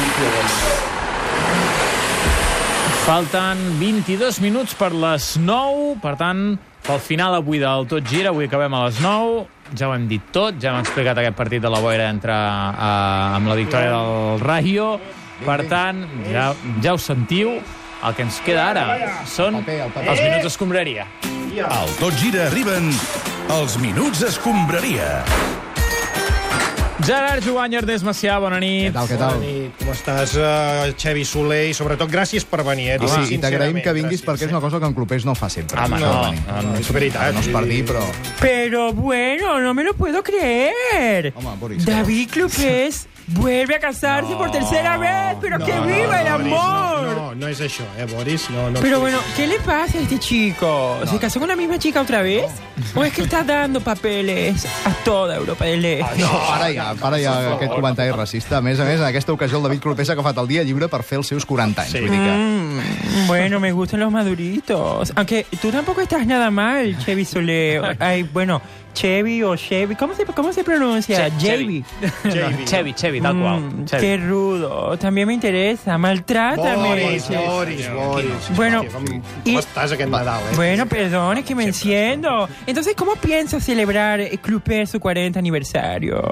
llavors. Falten 22 minuts per les 9, per tant, pel final avui del Tot Gira, avui acabem a les 9, ja ho hem dit tot, ja hem explicat aquest partit de la boira entre, eh, amb la victòria del Rayo, per tant, ja, ja ho sentiu, el que ens queda ara són El paper, el paper. els minuts d'escombraria. Al Tot Gira arriben els Minuts Escombraria. Gerard Jugany, Ernest Macià, bona Què nit. tal, què Bona tal? nit, com estàs, uh, Xevi Soler? I sobretot, gràcies per venir, eh? I, t'ho dic Ah, sí, I t'agraïm sincerament, que vinguis gràcies. perquè és una cosa que en clubers no fa sempre. Home, no, venir. no, És veritat. no és per dir, però... Pero bueno, no me lo puedo creer. Home, Boris, David Clupés vuelve a casarse por tercera vez, pero que viva el Boris, amor. No, no, no és això, eh, Boris? No, no. Pero bueno, ¿qué le pasa a este chico? ¿Se casó con la misma chica otra vez? ¿O es que está dando papeles a toda Europa del Ah, Este? No, para ja, para ja aquest comentari racista. A més a més, en aquesta ocasió el David Clopés ha agafat el dia lliure per fer els seus 40 anys. Sí. Vull dir que... Mm, Bueno, me gustan los maduritos. Aunque tú tampoco estás nada mal, Chevy Soler. Ay, bueno, Chevy o Chevy. ¿Cómo se, cómo se pronuncia? Che- Chevy. Xavi. Xevi, Xevi, tal qual. Mm, Xevi. qué rudo. También me interesa. Maltrátame. Boris, Che- Boris, Boris. Bueno, Hòstia, com, com i- estàs aquest Nadal, eh? Bueno, perdón, es que me enciendo. Entonces, ¿cómo piensa celebrar el Club P su 40 aniversario?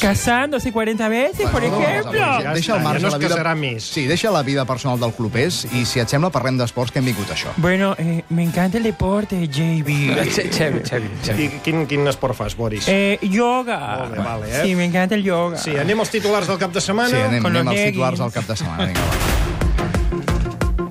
¿Casándose 40 veces, por Bueno, ejemplo? doncs, Ja Deixa el està, marge ja no a la es vida... casarà més. Sí, deixa la vida personal del clubers i, si et sembla, parlem d'esports que hem vingut a això. Bueno, eh, me encanta el deporte, JB. Xe- Xevi, Xevi, Xevi. I quin, quin esport fas, Boris? Eh, yoga. Molt bé, vale, eh? Sí, me encanta el yoga. Sí, anem als titulars del cap de setmana. Sí, anem, con los anem als leggings. titulars del cap de setmana. Vinga, va.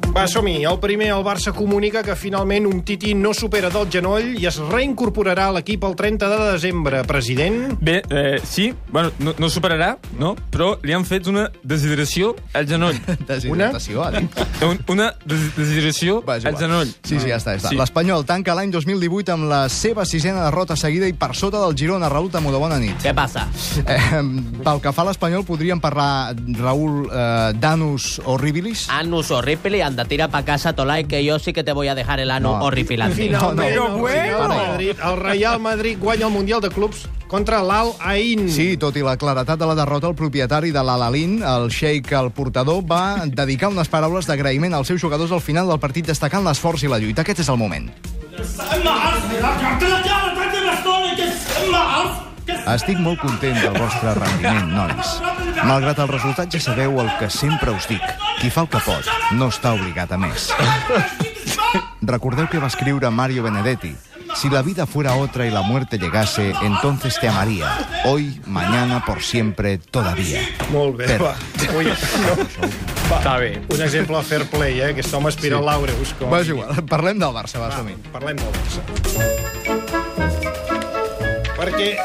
Va, som-hi. El primer, el Barça comunica que finalment un Titi no supera del genoll i es reincorporarà a l'equip el 30 de desembre. President, Bé, eh, sí, bueno, no, no superarà, no? però li han fet una deshidració al genoll. Deshidratació, ha dit. Un- Una des- deshidració Va, és al igual. genoll. Sí, sí, ja està. Ja està. Sí. L'Espanyol tanca l'any 2018 amb la seva sisena derrota seguida i per sota del Girona. Raül Tamudo, bona nit. Què passa? Eh, pel que fa a l'Espanyol, podríem parlar, Raül, eh, d'anus horribilis? Anus horrible, anda, tira para casa, Tolai, que yo sí que te voy a dejar el ano No. horripilante. Finalment, No, no. el, Real Bueno. Madrid, el Real Madrid guanya el Mundial de Clubs contra l'Al Ain. Sí, tot i la claretat de la derrota, el propietari de l'Alalín, el xeic, el portador, va dedicar unes paraules d'agraïment als seus jugadors al final del partit, destacant l'esforç i la lluita. Aquest és el moment. Estic molt content del vostre rendiment, nois. Malgrat el resultat, ja sabeu el que sempre us dic. Qui fa el que pot no està obligat a més. Recordeu que va escriure Mario Benedetti. Si la vida fuera otra y la muerte llegase, entonces te amaría. Hoy, mañana, por siempre, todavía. Molt bé, Però- va. Ui, no. Està bé. Un exemple a fair play, eh? Aquest home aspira sí. l'Aureus. Com... Va, és igual. Parlem del Barça, va, som Parlem del Barça. Perquè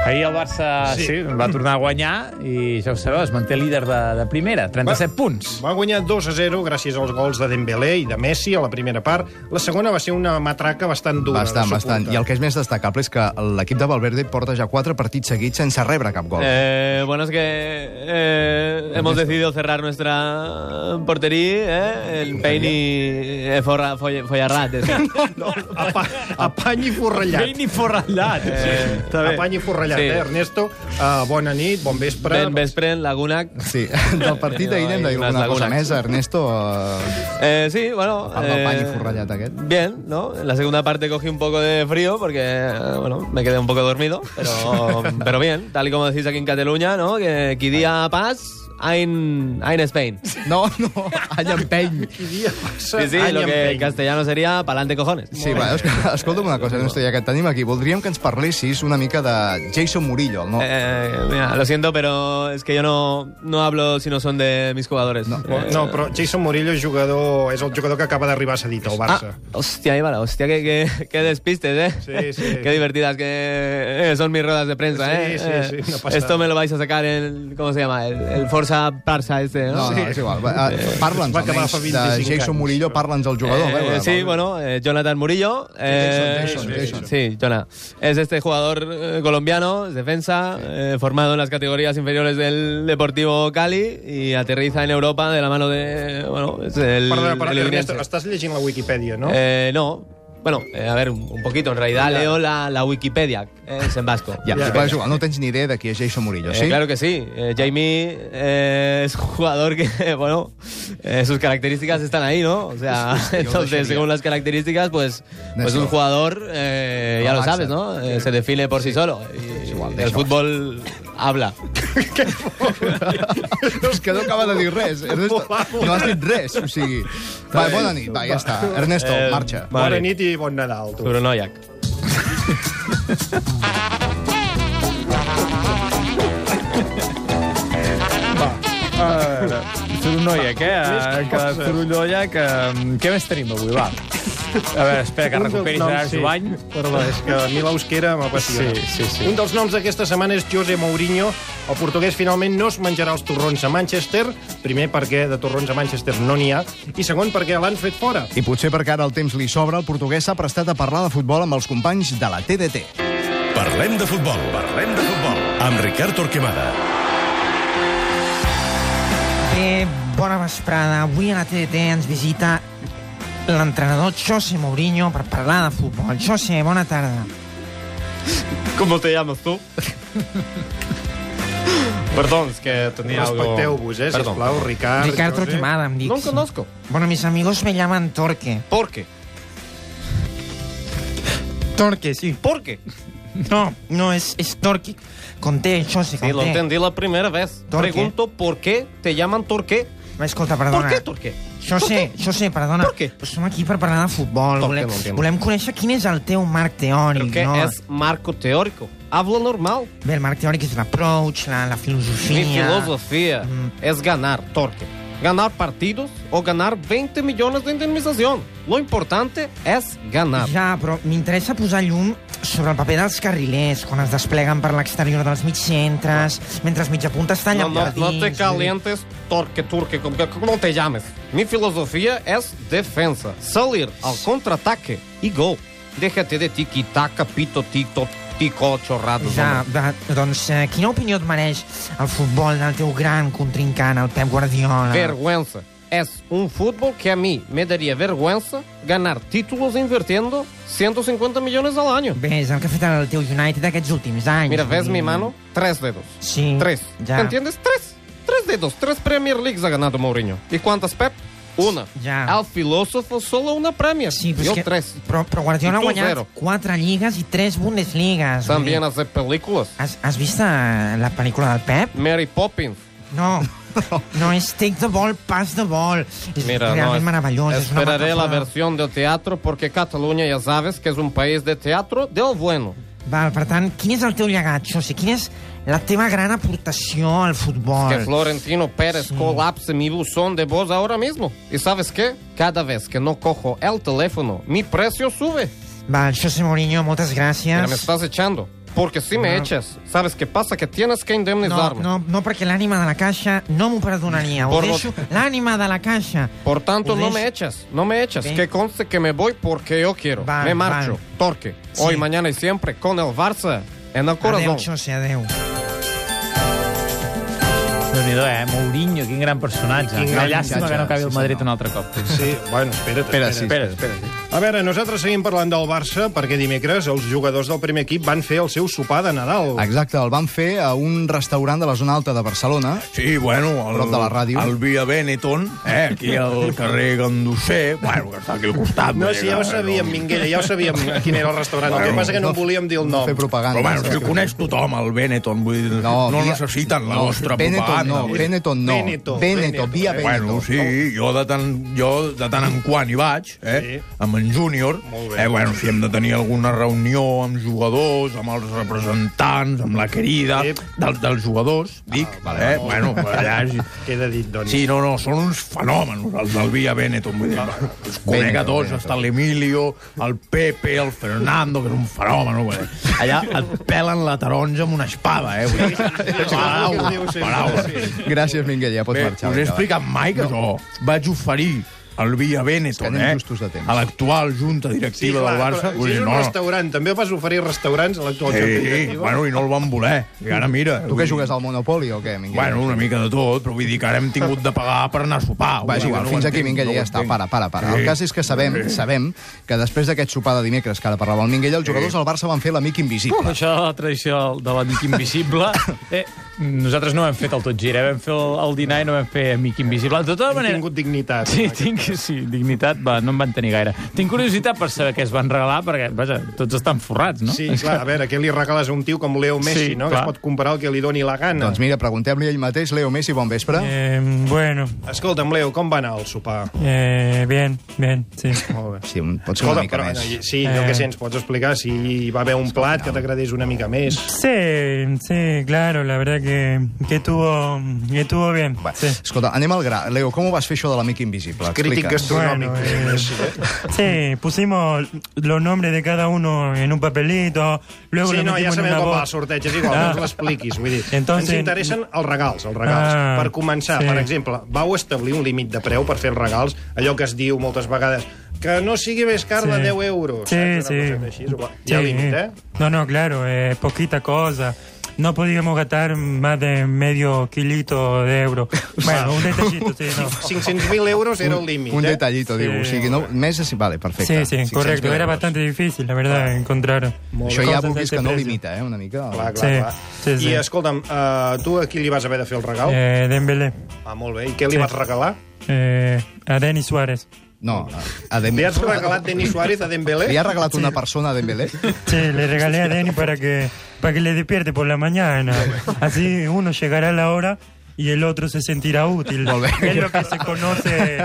Ahir el Barça sí. Sí. Sí, va tornar a guanyar i ja ho sabeu, es manté líder de, de primera, 37 punts. va guanyar 2 a 0 gràcies als gols de Dembélé i de Messi a la primera part. La segona va ser una matraca bastant dura. Bastant, no s'ho bastant. apunta. I el que és més destacable és que l'equip de Valverde porta ja quatre partits seguits sense rebre cap gol. Eh, bueno, es que eh, hemos decidido cerrar nuestra portería, ¿eh? el Peini eh, forra, folla- follarrat. ese. No, apa, apany i forrellat. Vini forrallat. Eh, Està bé. Apany i forrellat, Sí. eh, Ernesto? Uh, bona nit, bon vespre. Ben Vespren, Laguna. Sí, del partit d'ahir n'hem de dir Unes alguna cosa lagunes. més, Ernesto. Eh, Eh, sí, bueno. eh, part del Pani forrellat aquest. Bien, ¿no? En la segunda parte cogí un poco de frío porque, eh, bueno, me quedé un poco dormido, pero, pero bien, tal y como decís aquí en Cataluña, ¿no? Que qui dia pas, ein, ein Spain. No, no, any empeny. Qui dia passa Sí, sí, any lo que en empeny. castellano sería pa'lante cojones. Sí, va, es- escolta'm una cosa, Ernesto, ja que et tenim aquí. Voldríem que ens parlessis una mica de Jason Murillo, el nou... Eh, mira, lo siento, pero es que yo no, no hablo si no son de mis jugadores. Eh, No, No, però Jason Murillo és, jugador, és el jugador que acaba d'arribar cedit al Barça. Ah, hostia, Ibarra, hostia, qué, qué, qué despistes, ¿eh? Sí, sí. Qué divertidas que eh, son mis ruedas de prensa, Sí, ¿eh? sí, Eh, sí, una pasada. Esto me lo vais a sacar en, ¿cómo se llama? El, el Forza Barça este, ¿no? No, no, és igual. Va, eh, Parla'ns, Va acabar almenys, fa de 25 Jason anys. Murillo, parla'ns al jugador. a Eh, veure, sí, va. bueno, eh, Jonathan Murillo. eh, Jason, Jason, Jason. Sí, Jonah. Es este jugador eh, colombiano, es defensa, eh, formado en las categorías inferiores del Deportivo Cali y aterriza en Europa de la mano de. Bueno, es el. Perdona, perdona, el Ernesto, Udinese. estàs llegint la Wikipedia, no? Eh, no. Bueno, eh, a ver, un, un poquito. En realidad leo la, la Wikipedia, eh, es en vasco. Ja, ja, va, és igual, no tens ni idea de qui és Jason Murillo, Eh, ¿Ah, sí? Claro que sí. Eh, Jamie eh, es un jugador que, bueno, eh, sus características están ahí, ¿no? O sea, entonces, dejaría. según las características, pues, pues Eso. un jugador, eh, ya lo Relaxa. sabes, ¿no? Eh, se define por sí, solo. Y igual, el déjalo. fútbol habla. No, és que no acaba de dir res. Ernesto, no has dit res, o sigui... Va, bona nit, va, ja està. Ernesto, Eh, marxa. Bona Eh, Vale. nit i bon Nadal, tu. Brunoyak. Torullolla, Ah, què? Ah, Que Torullolla, que... mm, Què més tenim avui, va? A veure, espera, que Un dels recuperis noms, ara sí. Jovany. Perdó, és que a mi l'eusquera m'apassiona. Sí, sí, sí. Un dels noms d'aquesta setmana és José Mourinho. El portuguès finalment no es menjarà els torrons a Manchester, primer perquè de torrons a Manchester no n'hi ha, i segon perquè l'han fet fora. I potser perquè ara el temps li sobra, el portuguès s'ha prestat a parlar de futbol amb els companys de la TDT. Parlem de futbol. Parlem de futbol. Amb Ricard Torquemada. Eh, bona vesprada. Avui a la TDT ens visita l'entrenador José Mourinho per parlar de futbol. José, bona tarda. ¿Cómo te llamas tú? Perdón, es que tenía Respecteu-vos, eh, Perdón. sisplau, Ricard. Ricard José. Torquemada, em dic. No conozco. Bueno, mis amigos me llaman Torque. ¿Por qué? Torque, sí. ¿Por qué? No, no, es, es Torque. Conté, José, Sí, lo conté. entendí la primera vez. ¿Por qué? Pregunto por qué te llaman Torqué. Ma, escolta, ¿Por perdona. qué Torqué? José, José, perdona. Per què? Però Som aquí per parlar de futbol. Per què Volem, no entenc? volem conèixer quin és el teu marc teòric, Porque no? es marco teórico. Hablo normal. Bé, el marc teòric és l'approach, la, la filosofia... Mi filosofía Mm. es ganar, Torque. Ganar partidos o ganar 20 millones de indemnización. Lo importante es ganar. Ja, però m'interessa posar llum sobre el paper dels carrilers quan es despleguen per l'exterior dels mig centres, mentre els mitjapuntes No, tallen no, per no dins... te calientes, Torque, Turque, como, como te llames. Mi filosofía es é defensa. Salir al contraataque y gol. Déjate de tiki-taka, pito, tito, tico, chorradas. Ja, hombre. va, doncs eh, quina opinió et mereix el futbol del teu gran contrincant, el Pep Guardiola? Vergüenza. Es un fútbol um que a mí me daría vergüenza ganar títulos invirtiendo 150 millones al año. Bé, és el que ha fet el teu United aquests últims anys. Mira, vull ves dir. mi mano, tres dedos. Sí. Tres. Ya. ¿Te entiendes? Tres. Tres dedos. Tres Premier Leagues ha ganado Mourinho. ¿Y cuántas, Pep? Una. Ya. Al filósofo solo una Premier. Sí, però, Yo és que, tres. però, però Guardiola I ha tu, guanyat zero. quatre lligues i tres Bundesligas. vull También dir. hace películas. Has, has vist eh, la pel·lícula del Pep? Mary Poppins. No, no és take the ball, pass the ball. És Mira, no, realment es- meravellós. és una Esperaré la metàfora. versión del teatro porque Cataluña ya sabes que es un país de teatro del bueno. Val, per tant, quin és el teu llegat, José? Quina és la teva gran aportació al futbol? Que Florentino Pérez colapse mi buzón de voz ahora mismo. ¿Y sabes qué? Cada vez que no cojo el teléfono, mi precio sube. Val, José Mourinho, moltes Mira, me gràcies. estás echando. Porque si me No. echas, ¿sabes qué pasa? Que tienes que no, indemnizarme. no, no, perquè l'ànima de la caixa no m'ho perdonaria. Ho Por lo- deixo, l'ànima de la caixa. Por tanto, no Ulises. me echas, no me echas. Ven. Que conste que me voy porque yo quiero. Van, me marcho. van. Torque. Sí. Hoy, mañana y siempre con el Barça en el Adéu, corazón. José, adéu. Déu-n'hi-do, eh? Mourinho, quin gran personatge. Quin Quina gran llàstima missatge, que no acabi sí, el Madrid senyor. un altre cop. Sí, bueno, espera't, Espera, espera't. sí. Espera, espera. A veure, nosaltres seguim parlant del Barça perquè dimecres els jugadors del primer equip van fer el seu sopar de Nadal. Exacte, el van fer a un restaurant de la zona alta de Barcelona. Sí, bueno, al, Prop de la ràdio. al Via Benetton, eh, aquí al carrer Gandusser, bueno, que està aquí al costat. No, vull sí, dir ja ho que- sabíem, Minguella, ja ho sabíem quin era el restaurant. El que passa que no volíem dir el nom. Fer propaganda. eh? Però bueno, si ho coneix tothom, el Benetton, vull dir, no, no via- necessiten la no, vostra Benetton propaganda. No, vull dir. Benetton no, Benetton, eh. Benetton, Benetton, via Benetton. Bueno, sí, jo de tant, jo de tant en quant hi vaig, eh, Sí. amb en Júnior. Molt bé. Eh, bueno, si hem de tenir alguna reunió amb jugadors, amb els representants, amb la querida Sí. Ah, dels, dels jugadors, dic, eh, bueno, allà... és- Queda dit, doncs. Ah. Sí, no, no, són uns fenòmens, els del Via Benetton. Vull dir, els conec a tots, Benetton. està l'Emilio, el Pepe, el Fernando, que és un fenomen. Vull dir. Allà et pelen la taronja amb una espava, eh? Vull dir. Diu Ah, Paraula, sempre, paraula. sí. Gràcies, Minguella, pots Bé, marxar. us he vinga, va. explicat mai que jo vaig oferir al Via Benetton, Escanyem eh? justos de temps. A l'actual junta directiva del Barça. però Vull si dir, és un no, no. restaurant, també vas oferir restaurants a l'actual sí, Sí, sí, bueno, i no el van voler. I ara mira... Tu vull que dir, jugues al Monopoli o què, Minguell? Bueno, una mica de tot, però vull dir que ara hem tingut de pagar per anar a sopar. Va, és igual, no ho fins aquí, entenc, Minguell, no ho ja està, entenc. para, para, para. Sí. El cas és que sabem, sabem que després d'aquest sopar de dimecres que ara parlava el Minguell, els jugadors del Barça van fer l'amic invisible. Això de la tradició del- de l'amic invisible... Eh, nosaltres no hem fet el tot gira, eh? vam fer el, el dinar i no vam fer amic invisible. De tota Hem manera... tingut dignitat. eh, Sí, tinc, sí, dignitat, va, no en van tenir gaire. Tinc curiositat per saber què es van regalar, perquè, vaja, tots estan forrats, no? Sí, clar, a veure, què li regales a un tio com Leo Messi, Sí, no? Que es clar. pot comparar el que li doni la gana. Doncs Doncs... mira, preguntem-li a ell mateix, Leo Messi, bon vespre. Eh, bueno, Escolta'm, Leo, com va anar el sopar? eh, bien, bien, sí. Molt bé. Sí, un- pots ser Escolta, una mica però, més. sí, jo Eh. què sé, ens pots explicar si hi va haver un plat que t'agradés una mica més. Sí, sí, claro, la verdad que, que estuvo, que estuvo bien. Va, Sí. escolta, anem al gra. Leo, com ho vas fer això de l'amic invisible? Crític Explica'ns. gastronòmic. Bueno, eh, ¿eh? sí, pusimos los nombres de cada uno en un papelito, luego Sí, lo no, ja metimos en sabem una com va el bolsa. sorteig, és igual, Ah. no ens l'expliquis. Vull dir, Entonces- ens interessen els regals, els regals. Ah, per començar, sí. per exemple, vau establir un límit de preu per fer els regals, allò que es diu moltes vegades, que no sigui més car de Sí. 10 euros. Sí, saps? Una sí. cosa Així, igual. Hi ha Sí. límit, eh? No, no, claro, eh, poquita cosa. No podíamos gastar más de medio kilito de euro. Bueno, un detallito, sí, no. 500.000 euros era el límit, Un eh? detallito, diu. O sigui, no, més... és- Vale, perfecte. Sí, sí, correcto. Era bastante difícil, la verdad, encontrar. Això ja cosas de vulguis este que no precio. limita, eh, una mica. Clar, clar, Sí, clar. sí, sí. I escolta'm, uh, tu a qui li vas haver de fer el regal? Eh, Dembélé, Ah, molt bé. I què li sí. vas regalar? eh, a Denis Suárez. No, a Li Dembélé. has regalat Denis Suárez a Dembélé? Li ha regalat una persona a Dembélé? Sí, le regalé a Denis para que, para que le despierte por la mañana. Así uno llegará a la hora y el otro se sentirá útil. Volver. Es lo que se conoce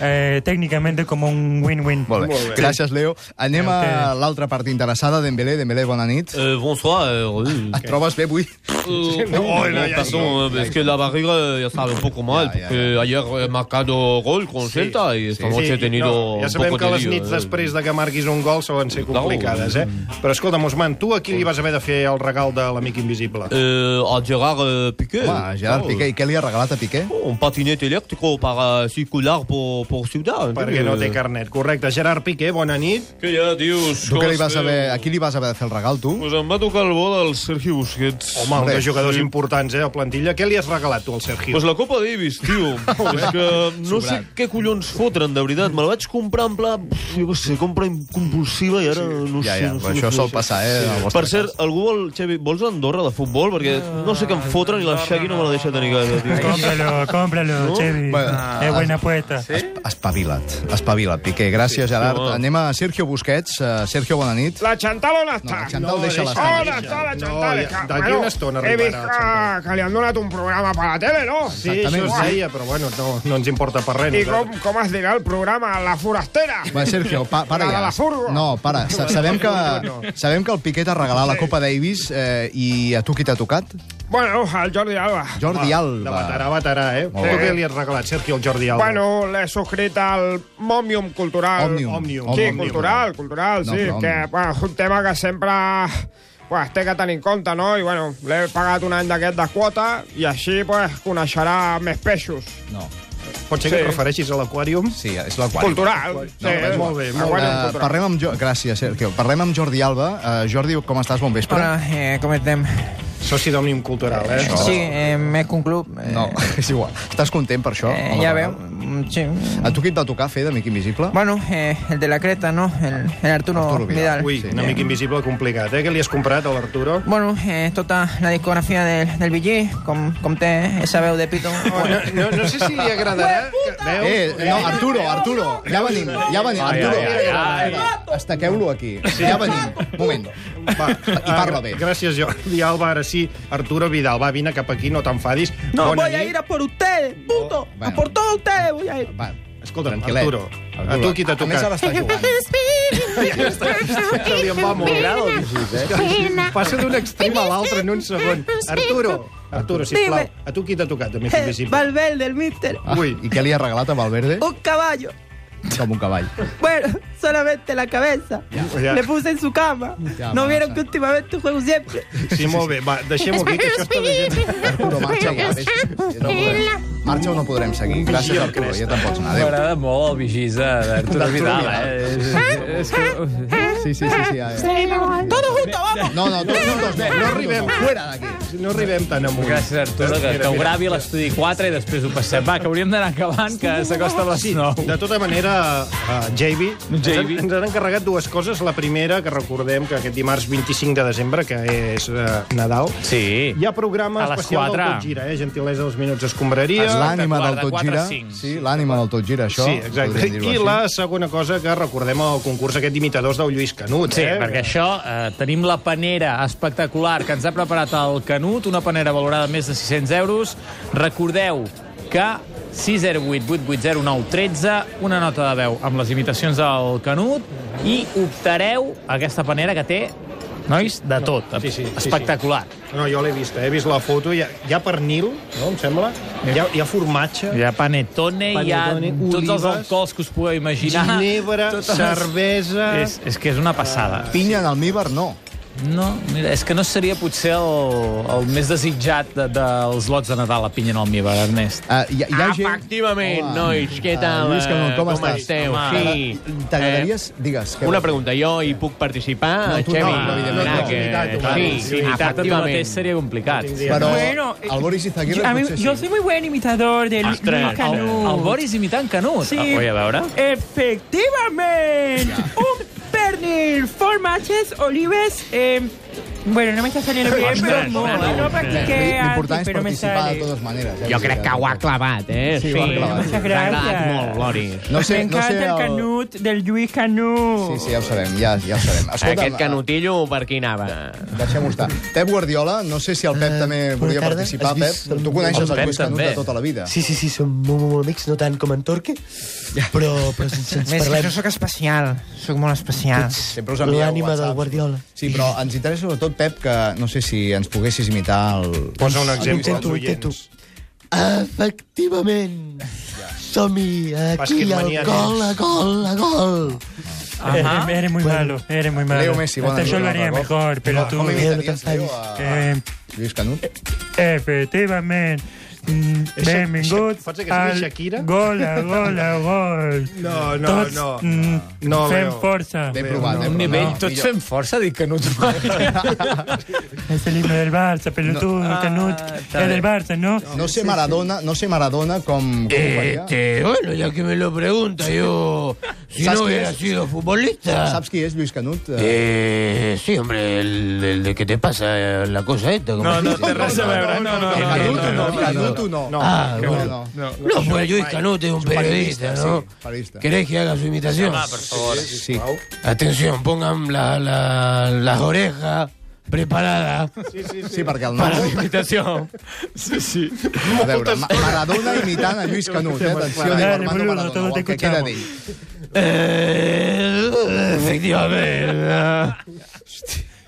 eh, técnicamente como un win-win. Molt bé. Gràcies, Leo. Anem a l'altra part interessada, Dembélé. Dembélé, bona nit. Euh, bonsoir. Euh, Et trobes bé avui? euh, Non, bon, il y a- passons, euh, parce que la barrière, euh, ça va un poco mal. Il y a- porque ayer, euh, marcado gol con Celta y esta noche he tenido no, ja un sabem poco que de les lío, nits eh. després de que marquis un gol solen ser complicades, eh? Però escolta'm, Osman, tu a qui li vas haver de fer el regal de l'amic invisible? Euh, à Gérard euh, Piqué. Home, Gerard Oh, Piqué, i què li ha regalat a Piqué? oh, Un patinete électrico para circular pour, pour Ciudad. Perquè no té carnet. Correcte. Gerard Piqué, bona nit. Que ja dius... Tu com què li es vas feu? haver... A qui li vas haver de fer el regal, tu? Pues em va tocar el bo del Sergi Busquets. Home, un Bé, dels jugadors importants, eh, de plantilla. Què li has regalat, tu, al Sergio? Pues la Copa Davis, tio. és que no sé Sobrat. què collons fotren, de veritat. Me la vaig comprar en pla... pf, Jo què sé, compra compulsiva i ara no Ja, sé... ja, no sé però què això fer. sol passar, eh? en el vostre Per cert, algú vol, Xevi, vols l'Andorra de futbol? Perquè no sé què em fotren i la Xevi no me la deixa tenir gaire, tio. Cómpralo, cómpralo, Chevy. Uh, Bueno, Ah. es buena apuesta. cas. Espavila't, espavila't, Piqué. Gràcies, Gerard. Anem a Sergio Busquets. Eh, Sergio, bona nit. La Chantal on està? No, la Chantal deixa-la deixa- estar. On està la No, Chantal? ja- Que- d'aquí una estona He arribarà vist la que, Chantal. que li han donat un programa per la tele, no? Sí, això es deia, però bueno, no, no ens importa per res. I nosaltres. com, com es dirà el programa? La forastera? Va, Sergio, pa, para La de ja. la furgo. No, para. Sa- Sabem que, sabem que el Piqué t'ha regalat la Copa Davis eh, i a tu qui t'ha tocat? Bueno, el Jordi Alba. Jordi De Alba. veterà, veterà, eh? Molt bé. Tu què li has regalat, Sergio, al Jordi Alba? Bueno, l'he subscrit al Mòmium Cultural. Òmnium. Òmnium. Sí, Òmnium. cultural, cultural, No, sí. però que, Òmnium. bueno, és un tema que sempre pues, té que tenir en compte, no? I, bueno, l'he pagat un any d'aquest de quota i així, pues, coneixerà més peixos. No. Pot ser que et refereixis a l'Aquarium? Sí, és l'aquari. Cultural. sí, bé, molt bé, molt Aquarium Uh, cultural. parlem amb jo... Gràcies, Sergio. Parlem amb Jordi Alba. Uh, Jordi, com estàs? Bon vespre. Hola, eh, com estem? Soci d'Òmnium Cultural, eh? Sí, eh, m'he conclut. Eh, No, és igual. Estàs content per això? Eh, Home, ja no. veu. mm, Sí. A tu qui et va tocar fer d'amic invisible? Bueno, eh, el de la Creta, ¿no? El, el Arturo, Arturo Vidal. Ui, Vidal. una mica invisible complicat, eh? Què li has comprat a l'Arturo? Bueno, eh, tota la discografia del, del BG, com, com té esa veu de pito. Oh, No, no, no sé si li agradarà... Que, veus? Eh, no, Arturo, Arturo, ja venim, ja venim. Ai, Arturo, ai, ai, estaqueu-lo aquí. Ja venim. Moment. Va, i parla bé. Ah, Gràcies, Jordi Alba. Ara sí, Arturo Vidal, va, vine cap aquí, no t'enfadis. Bona nit. por ustedes, puto. A bueno. por todos ustedes voy a ir. Va, Escolta'm, tranquil·let. Arturo, a tu qui t'ha A més, tocat? ara està jugant. Se li en va molt grau. eh? Passa d'un extrem a l'altre en un segon. Arturo, Arturo, sisplau, a tu qui t'ha tocat, amic invisible? Valverde, el mister. Ah, Ui. I què li ha regalat a Valverde? Un caballo. com un cavall. Bueno, solamente la cabeza. Ya. Le puse en su cama. Ya, no va, vieron que últimamente juego siempre. Sí, molt bé, va, deixem-ho aquí, que això està llegint. Arturo, marxa, va, deixa. No podrem. Marxa o no podrem seguir. Gràcies, Arturo, ja te'n pots anar. Adéu. M'agrada molt el vigís de- d'Arturo D'Arturo Vidal, Vidal. eh? És- és- és que- Sí, sí, sí, sí. ja, ja. Todo junto, vamos. No, no, tots juntos, no, no arribem. Fuera d'aquí. No arribem tan amunt. Gràcies, Arturo, que, Mira, que ho mira. gravi a l'estudi 4 i després ho passem. Va, que hauríem d'anar acabant, que s'acosta a les 9. De tota manera, uh, JB, ens han- JB. ens han encarregat dues coses. La primera, que recordem que aquest dimarts 25 de desembre, que és uh, Nadal, sí. hi ha programa A les especial del 4. Tot Gira, eh? gentilesa dels minuts escombraria. És l'ànima del Guarda, tot quatre, gira. cinc. Sí, l'ànima del tot gira, això. Sí, exacte. podríem dir-ho I així. la segona cosa que recordem el concurs aquest d'imitadors del Lluís Canut. Sí, eh? perquè això, eh, tenim la panera espectacular que ens ha preparat el Canut, una panera valorada a més de 600 euros. Recordeu que 608-880-913, una nota de veu amb les imitacions del Canut, i optareu a aquesta panera que té, nois, de tot. Sí, sí, sí, sí. espectacular. No, jo l'he vista, he vist la foto. Hi ha, hi ha pernil, no, em sembla? Hi ha, hi ha formatge. Hi ha panettone, hi ha Panettone, tots els olives, alcohols que us podeu imaginar. Ginebra, totes- cervesa... És, és que és una passada. Pinya en almíbar, no. No, mira, és que no seria potser el, el més desitjat de, dels lots de Nadal, la pinya en almíbar, Ernest. Uh, hi, ha- hi ha Ah, gent... Efectivament, Hola. nois, què Ah, tal? eh, Lluís Canut, com estàs? esteu? Home, Sí. T'agradaries... Digues. Eh, una pregunta, jo hi puc participar, No, tu no, Xevi? no, evidentment, Ah, no. que- Clar, Sí, si imitar-te tu efectivament. mateix Tota seria complicat. Però Bueno, eh, el Boris Izaguirre Yo, a mí- potser sí. yo soy muy buen imitador de Luis Ostres, Luis Canut. el- el Boris imitant Canut. Sí. Ah, vull a veure. Efectivamente. Un pernil, formatges, olives... eh, bueno, no me está saliendo bien, Ostres, pero no, ostres, no L- practiqué antes, L'important és pero me participar de sale. totes maneres. eh? Jo crec que ho ha clavat, eh? Sí, ho ha clavat. Ens ha agradat molt, Boris. No sé, me no encanta sé... el El... Canut del Luis Canut. Sí, sí, ja ho sabem, ja, ja ho sabem. Aquest Escolta'm, eh, canutillo per qui anava? Deixem-ho estar. Pep Guardiola, no sé si el Eh, Pep també volia tarda. participar, Has vist Pep. el- eh, Tu coneixes El el Pep Lluís Canut també. de tota la vida. Sí, sí, sí, som molt, molt, molt amics, no tant com en Torque, però, però sense ens Més que parlem. jo sóc especial. Sóc molt especial. Sempre us envieu L'ànima WhatsApp. del Guardiola. Sí, però ens interessa sobretot, Pep, que no sé si ens poguessis imitar el... Posa un el exemple Lluís als Canut. oients. Efectivament. Som-hi, aquí, Bàsquet al mania gol, tens. a gol, a gol. Eres, eres muy malo, eres muy malo. Leo Messi, bueno, Hasta yo Leo lo haría Barroca. mejor, pero Hola, tú... ¿cómo imitarías, Leo, a- Eh, Lluís Canut? Efectivamente. Mm, És Sha- Benvinguts Sha- pots que sigui al Shakira? gol, a gol, a gol. No, no, Tots, no. mm, No, fem Leo. força. L'he provat, l'he provat. Nivell, No, tots millor. fem força, dic Canut. Es el himno del Barça, pelotudo, Ah, Canut. bé. Es del Barça, ¿no? No sé Maradona, no sé Maradona com... com ho faria. Este, bueno, ya Eh, que me lo pregunta, yo... Si ¿Sabes no quién hubiera es? sido futbolista... Saps qui és Lluís Canut? Eh, sí, hombre, el, el de que te pasa la cosa esta. como se dice. no, no, no, Canut, no, no, no, no, Canut, no. Ah, no, bueno. no. No, pues Luis Canute es un periodista, ¿no? periodista. ¿Querés que haga su imitación? favor. Sí. Atención, pongan la- la- las orejas preparadas Sí, perquè el para la nom... imitación. Sí, sí. A veure, Ma- Maradona imitant a Lluís Canut, eh? Atenció, diu Dale, Armando boludo, Maradona, todos o te el que queda escuchamos. d'ell. Eh, efectivamente.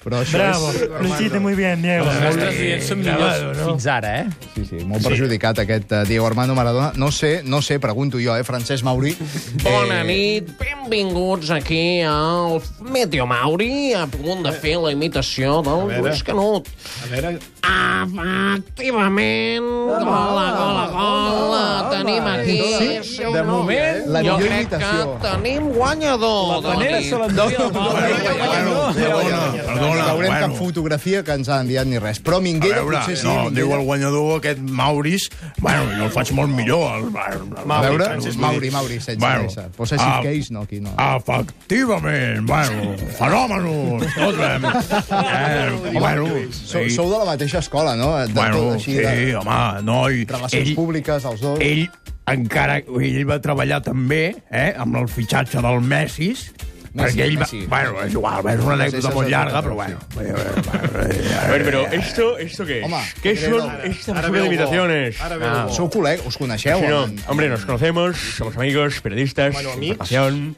Però això Bravo, és... lo hiciste muy bien, Diego. Els nostres dients són millors Gravado, no? fins ara, eh? Sí, sí, molt perjudicat aquest eh, Diego Armando Maradona. No sé, no sé, pregunto jo, eh, Francesc Mauri. Bona nit, benvinguts aquí al Meteo Mauri, a punt de fer la imitació del veure. Lluís Canut. A veure... Efectivament, gola, gola, gola, tenim aquí... Sí, de moment, la jo millor crec que imitació. tenim guanyador. La panera Doni. se l'endugui el Mauri. Perdona, No veurem bueno. cap fotografia que ens han enviat ni res. Però A Minguella veure, potser sí. no, diu Minguella. el guanyador aquest Mauris. Bueno, jo el faig molt millor. El, el, el, A veure, Francesc Mauri, Mauri, sense bueno, pressa. Posa ah, sis case, no, aquí no. Efectivament, bueno, fenòmenos, escolta'm. Eh, bueno, Sou, sou de la mateixa escola, no? De bueno, tot així, de sí, home, noi. relacions ell- públiques, els dos. ell encara ell va treballar també eh, amb el fitxatge del Messi, perquè ell va... Messi. Bueno, és igual, és una Sí, anècdota sí, molt sí, llarga, sí. però bueno. A ver, pero ¿esto, esto qué es? Home, ¿Qué creo- son Ara- estas ara basura de veo- imitaciones? ara veo- Ah. Sou col·legues, us coneixeu. Sí, no. home. Hombre, nos conocemos, somos amigos, periodistas, Bueno, de amics. información.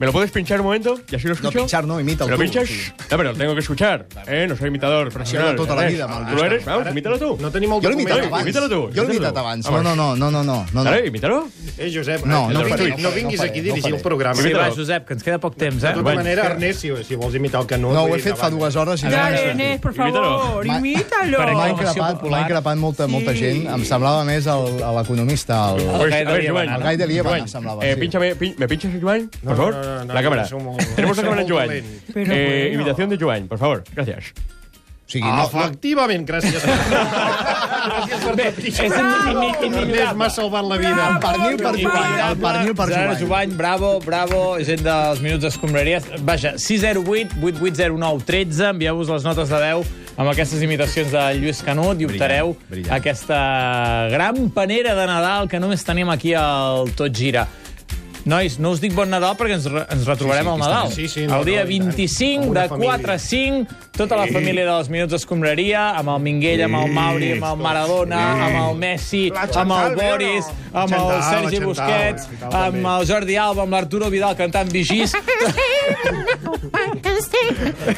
¿Me lo puedes pinchar un momento? Y así lo escucho. No, pinchar no, imita ¿Me lo pinchas? No, pero lo tengo que escuchar. ¿eh? No soy imitador profesional. tota la ¿sabes? vida, maldito. ¿Tú lo eres? Vamos, imítalo tú. No tenim Jo l'he imitat abans. Imítalo tu. Jo imítalo l'he imitat tu. abans. No, Vamos. no, no, no, no, no. no. Ara, imítalo? Eh, Josep, No, no, no faré, vinguis, no no faré, vinguis no faré, aquí a no dirigir faré. el programa. Sí, va, Josep, que ens queda poc temps, eh? De tota manera, Ernest, si, si vols imitar el que no... No, vull ho he dir fet fa davant. dues hores. i Dale, no m'ha Ernest, por sortit. favor, Ma- imítalo. M'ha increpat, m'ha increpat molta, molta gent. Em semblava més el- a l'economista, el, Pues, a ver, Joan. el Gai de Lieva, Joan, em semblava. eh, sí. pínchame- pin- ¿Me pinchas, Joan? Por favor. no, no, no, la cámara. somos- Tenemos la somos cámara de Joan. talent. Pero Eh, bueno. Imitación de Joan, por favor. Gracias. Sí, Ah, Efectivament, gràcies. gràcies per tot. és in- in- in- Ernest m'ha salvat la vida. El pernil per Joan, el pernil per Gerard Joan. Jovany, bravo, bravo, gent dels Minuts d'Escombraries. Vaja, 608 8809 13, envieu-vos les notes de 10 amb aquestes imitacions de Lluís Canut i optareu brillant. aquesta gran panera de Nadal que només tenim aquí al Tot Gira. Nois, no us dic bon Nadal perquè ens, re- ens retrobarem Sí, sí, que al Nadal. estarem- sí, sí, no, el dia no, i tant. 25 Com de una 4 a 5, tota la Sí. família dels Minuts d'Escombraria, amb el Minguell, amb el Mauri, amb el Maradona, Sí. amb el Messi, La amb Chantal, el bé o no? Boris, amb el Chantal, la Sergi Chantal, Busquets, la Chantal amb també. el Jordi Alba, amb l'Arturo Vidal cantant Vigís.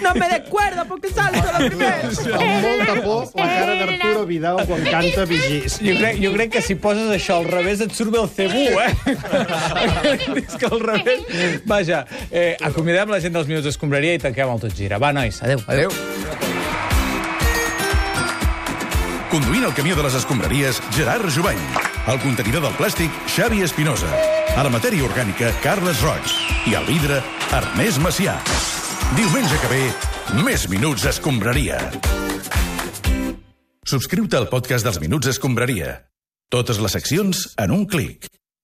No me descuerda porque salto la primera. Amb molta por, la cara d'Arturo Vidal quan canta Vigís. Jo crec, jo crec que si poses això al revés et surt bé el cebú, eh? És que al revés... Vaja, eh, acomiadem la gent dels Minuts d'Escombraria i tanquem el Tot Gira. Va, nois, adeu. Adeu. Conduint el camió de les escombraries, Gerard Jubany. El contenidor del plàstic, Xavi Espinosa. A la matèria orgànica, Carles Roig. I al vidre, Ernest Macià. Diumenge que ve, més Minuts Escombraria. Subscriu-te al podcast dels Minuts Escombraria. Totes les seccions en un clic.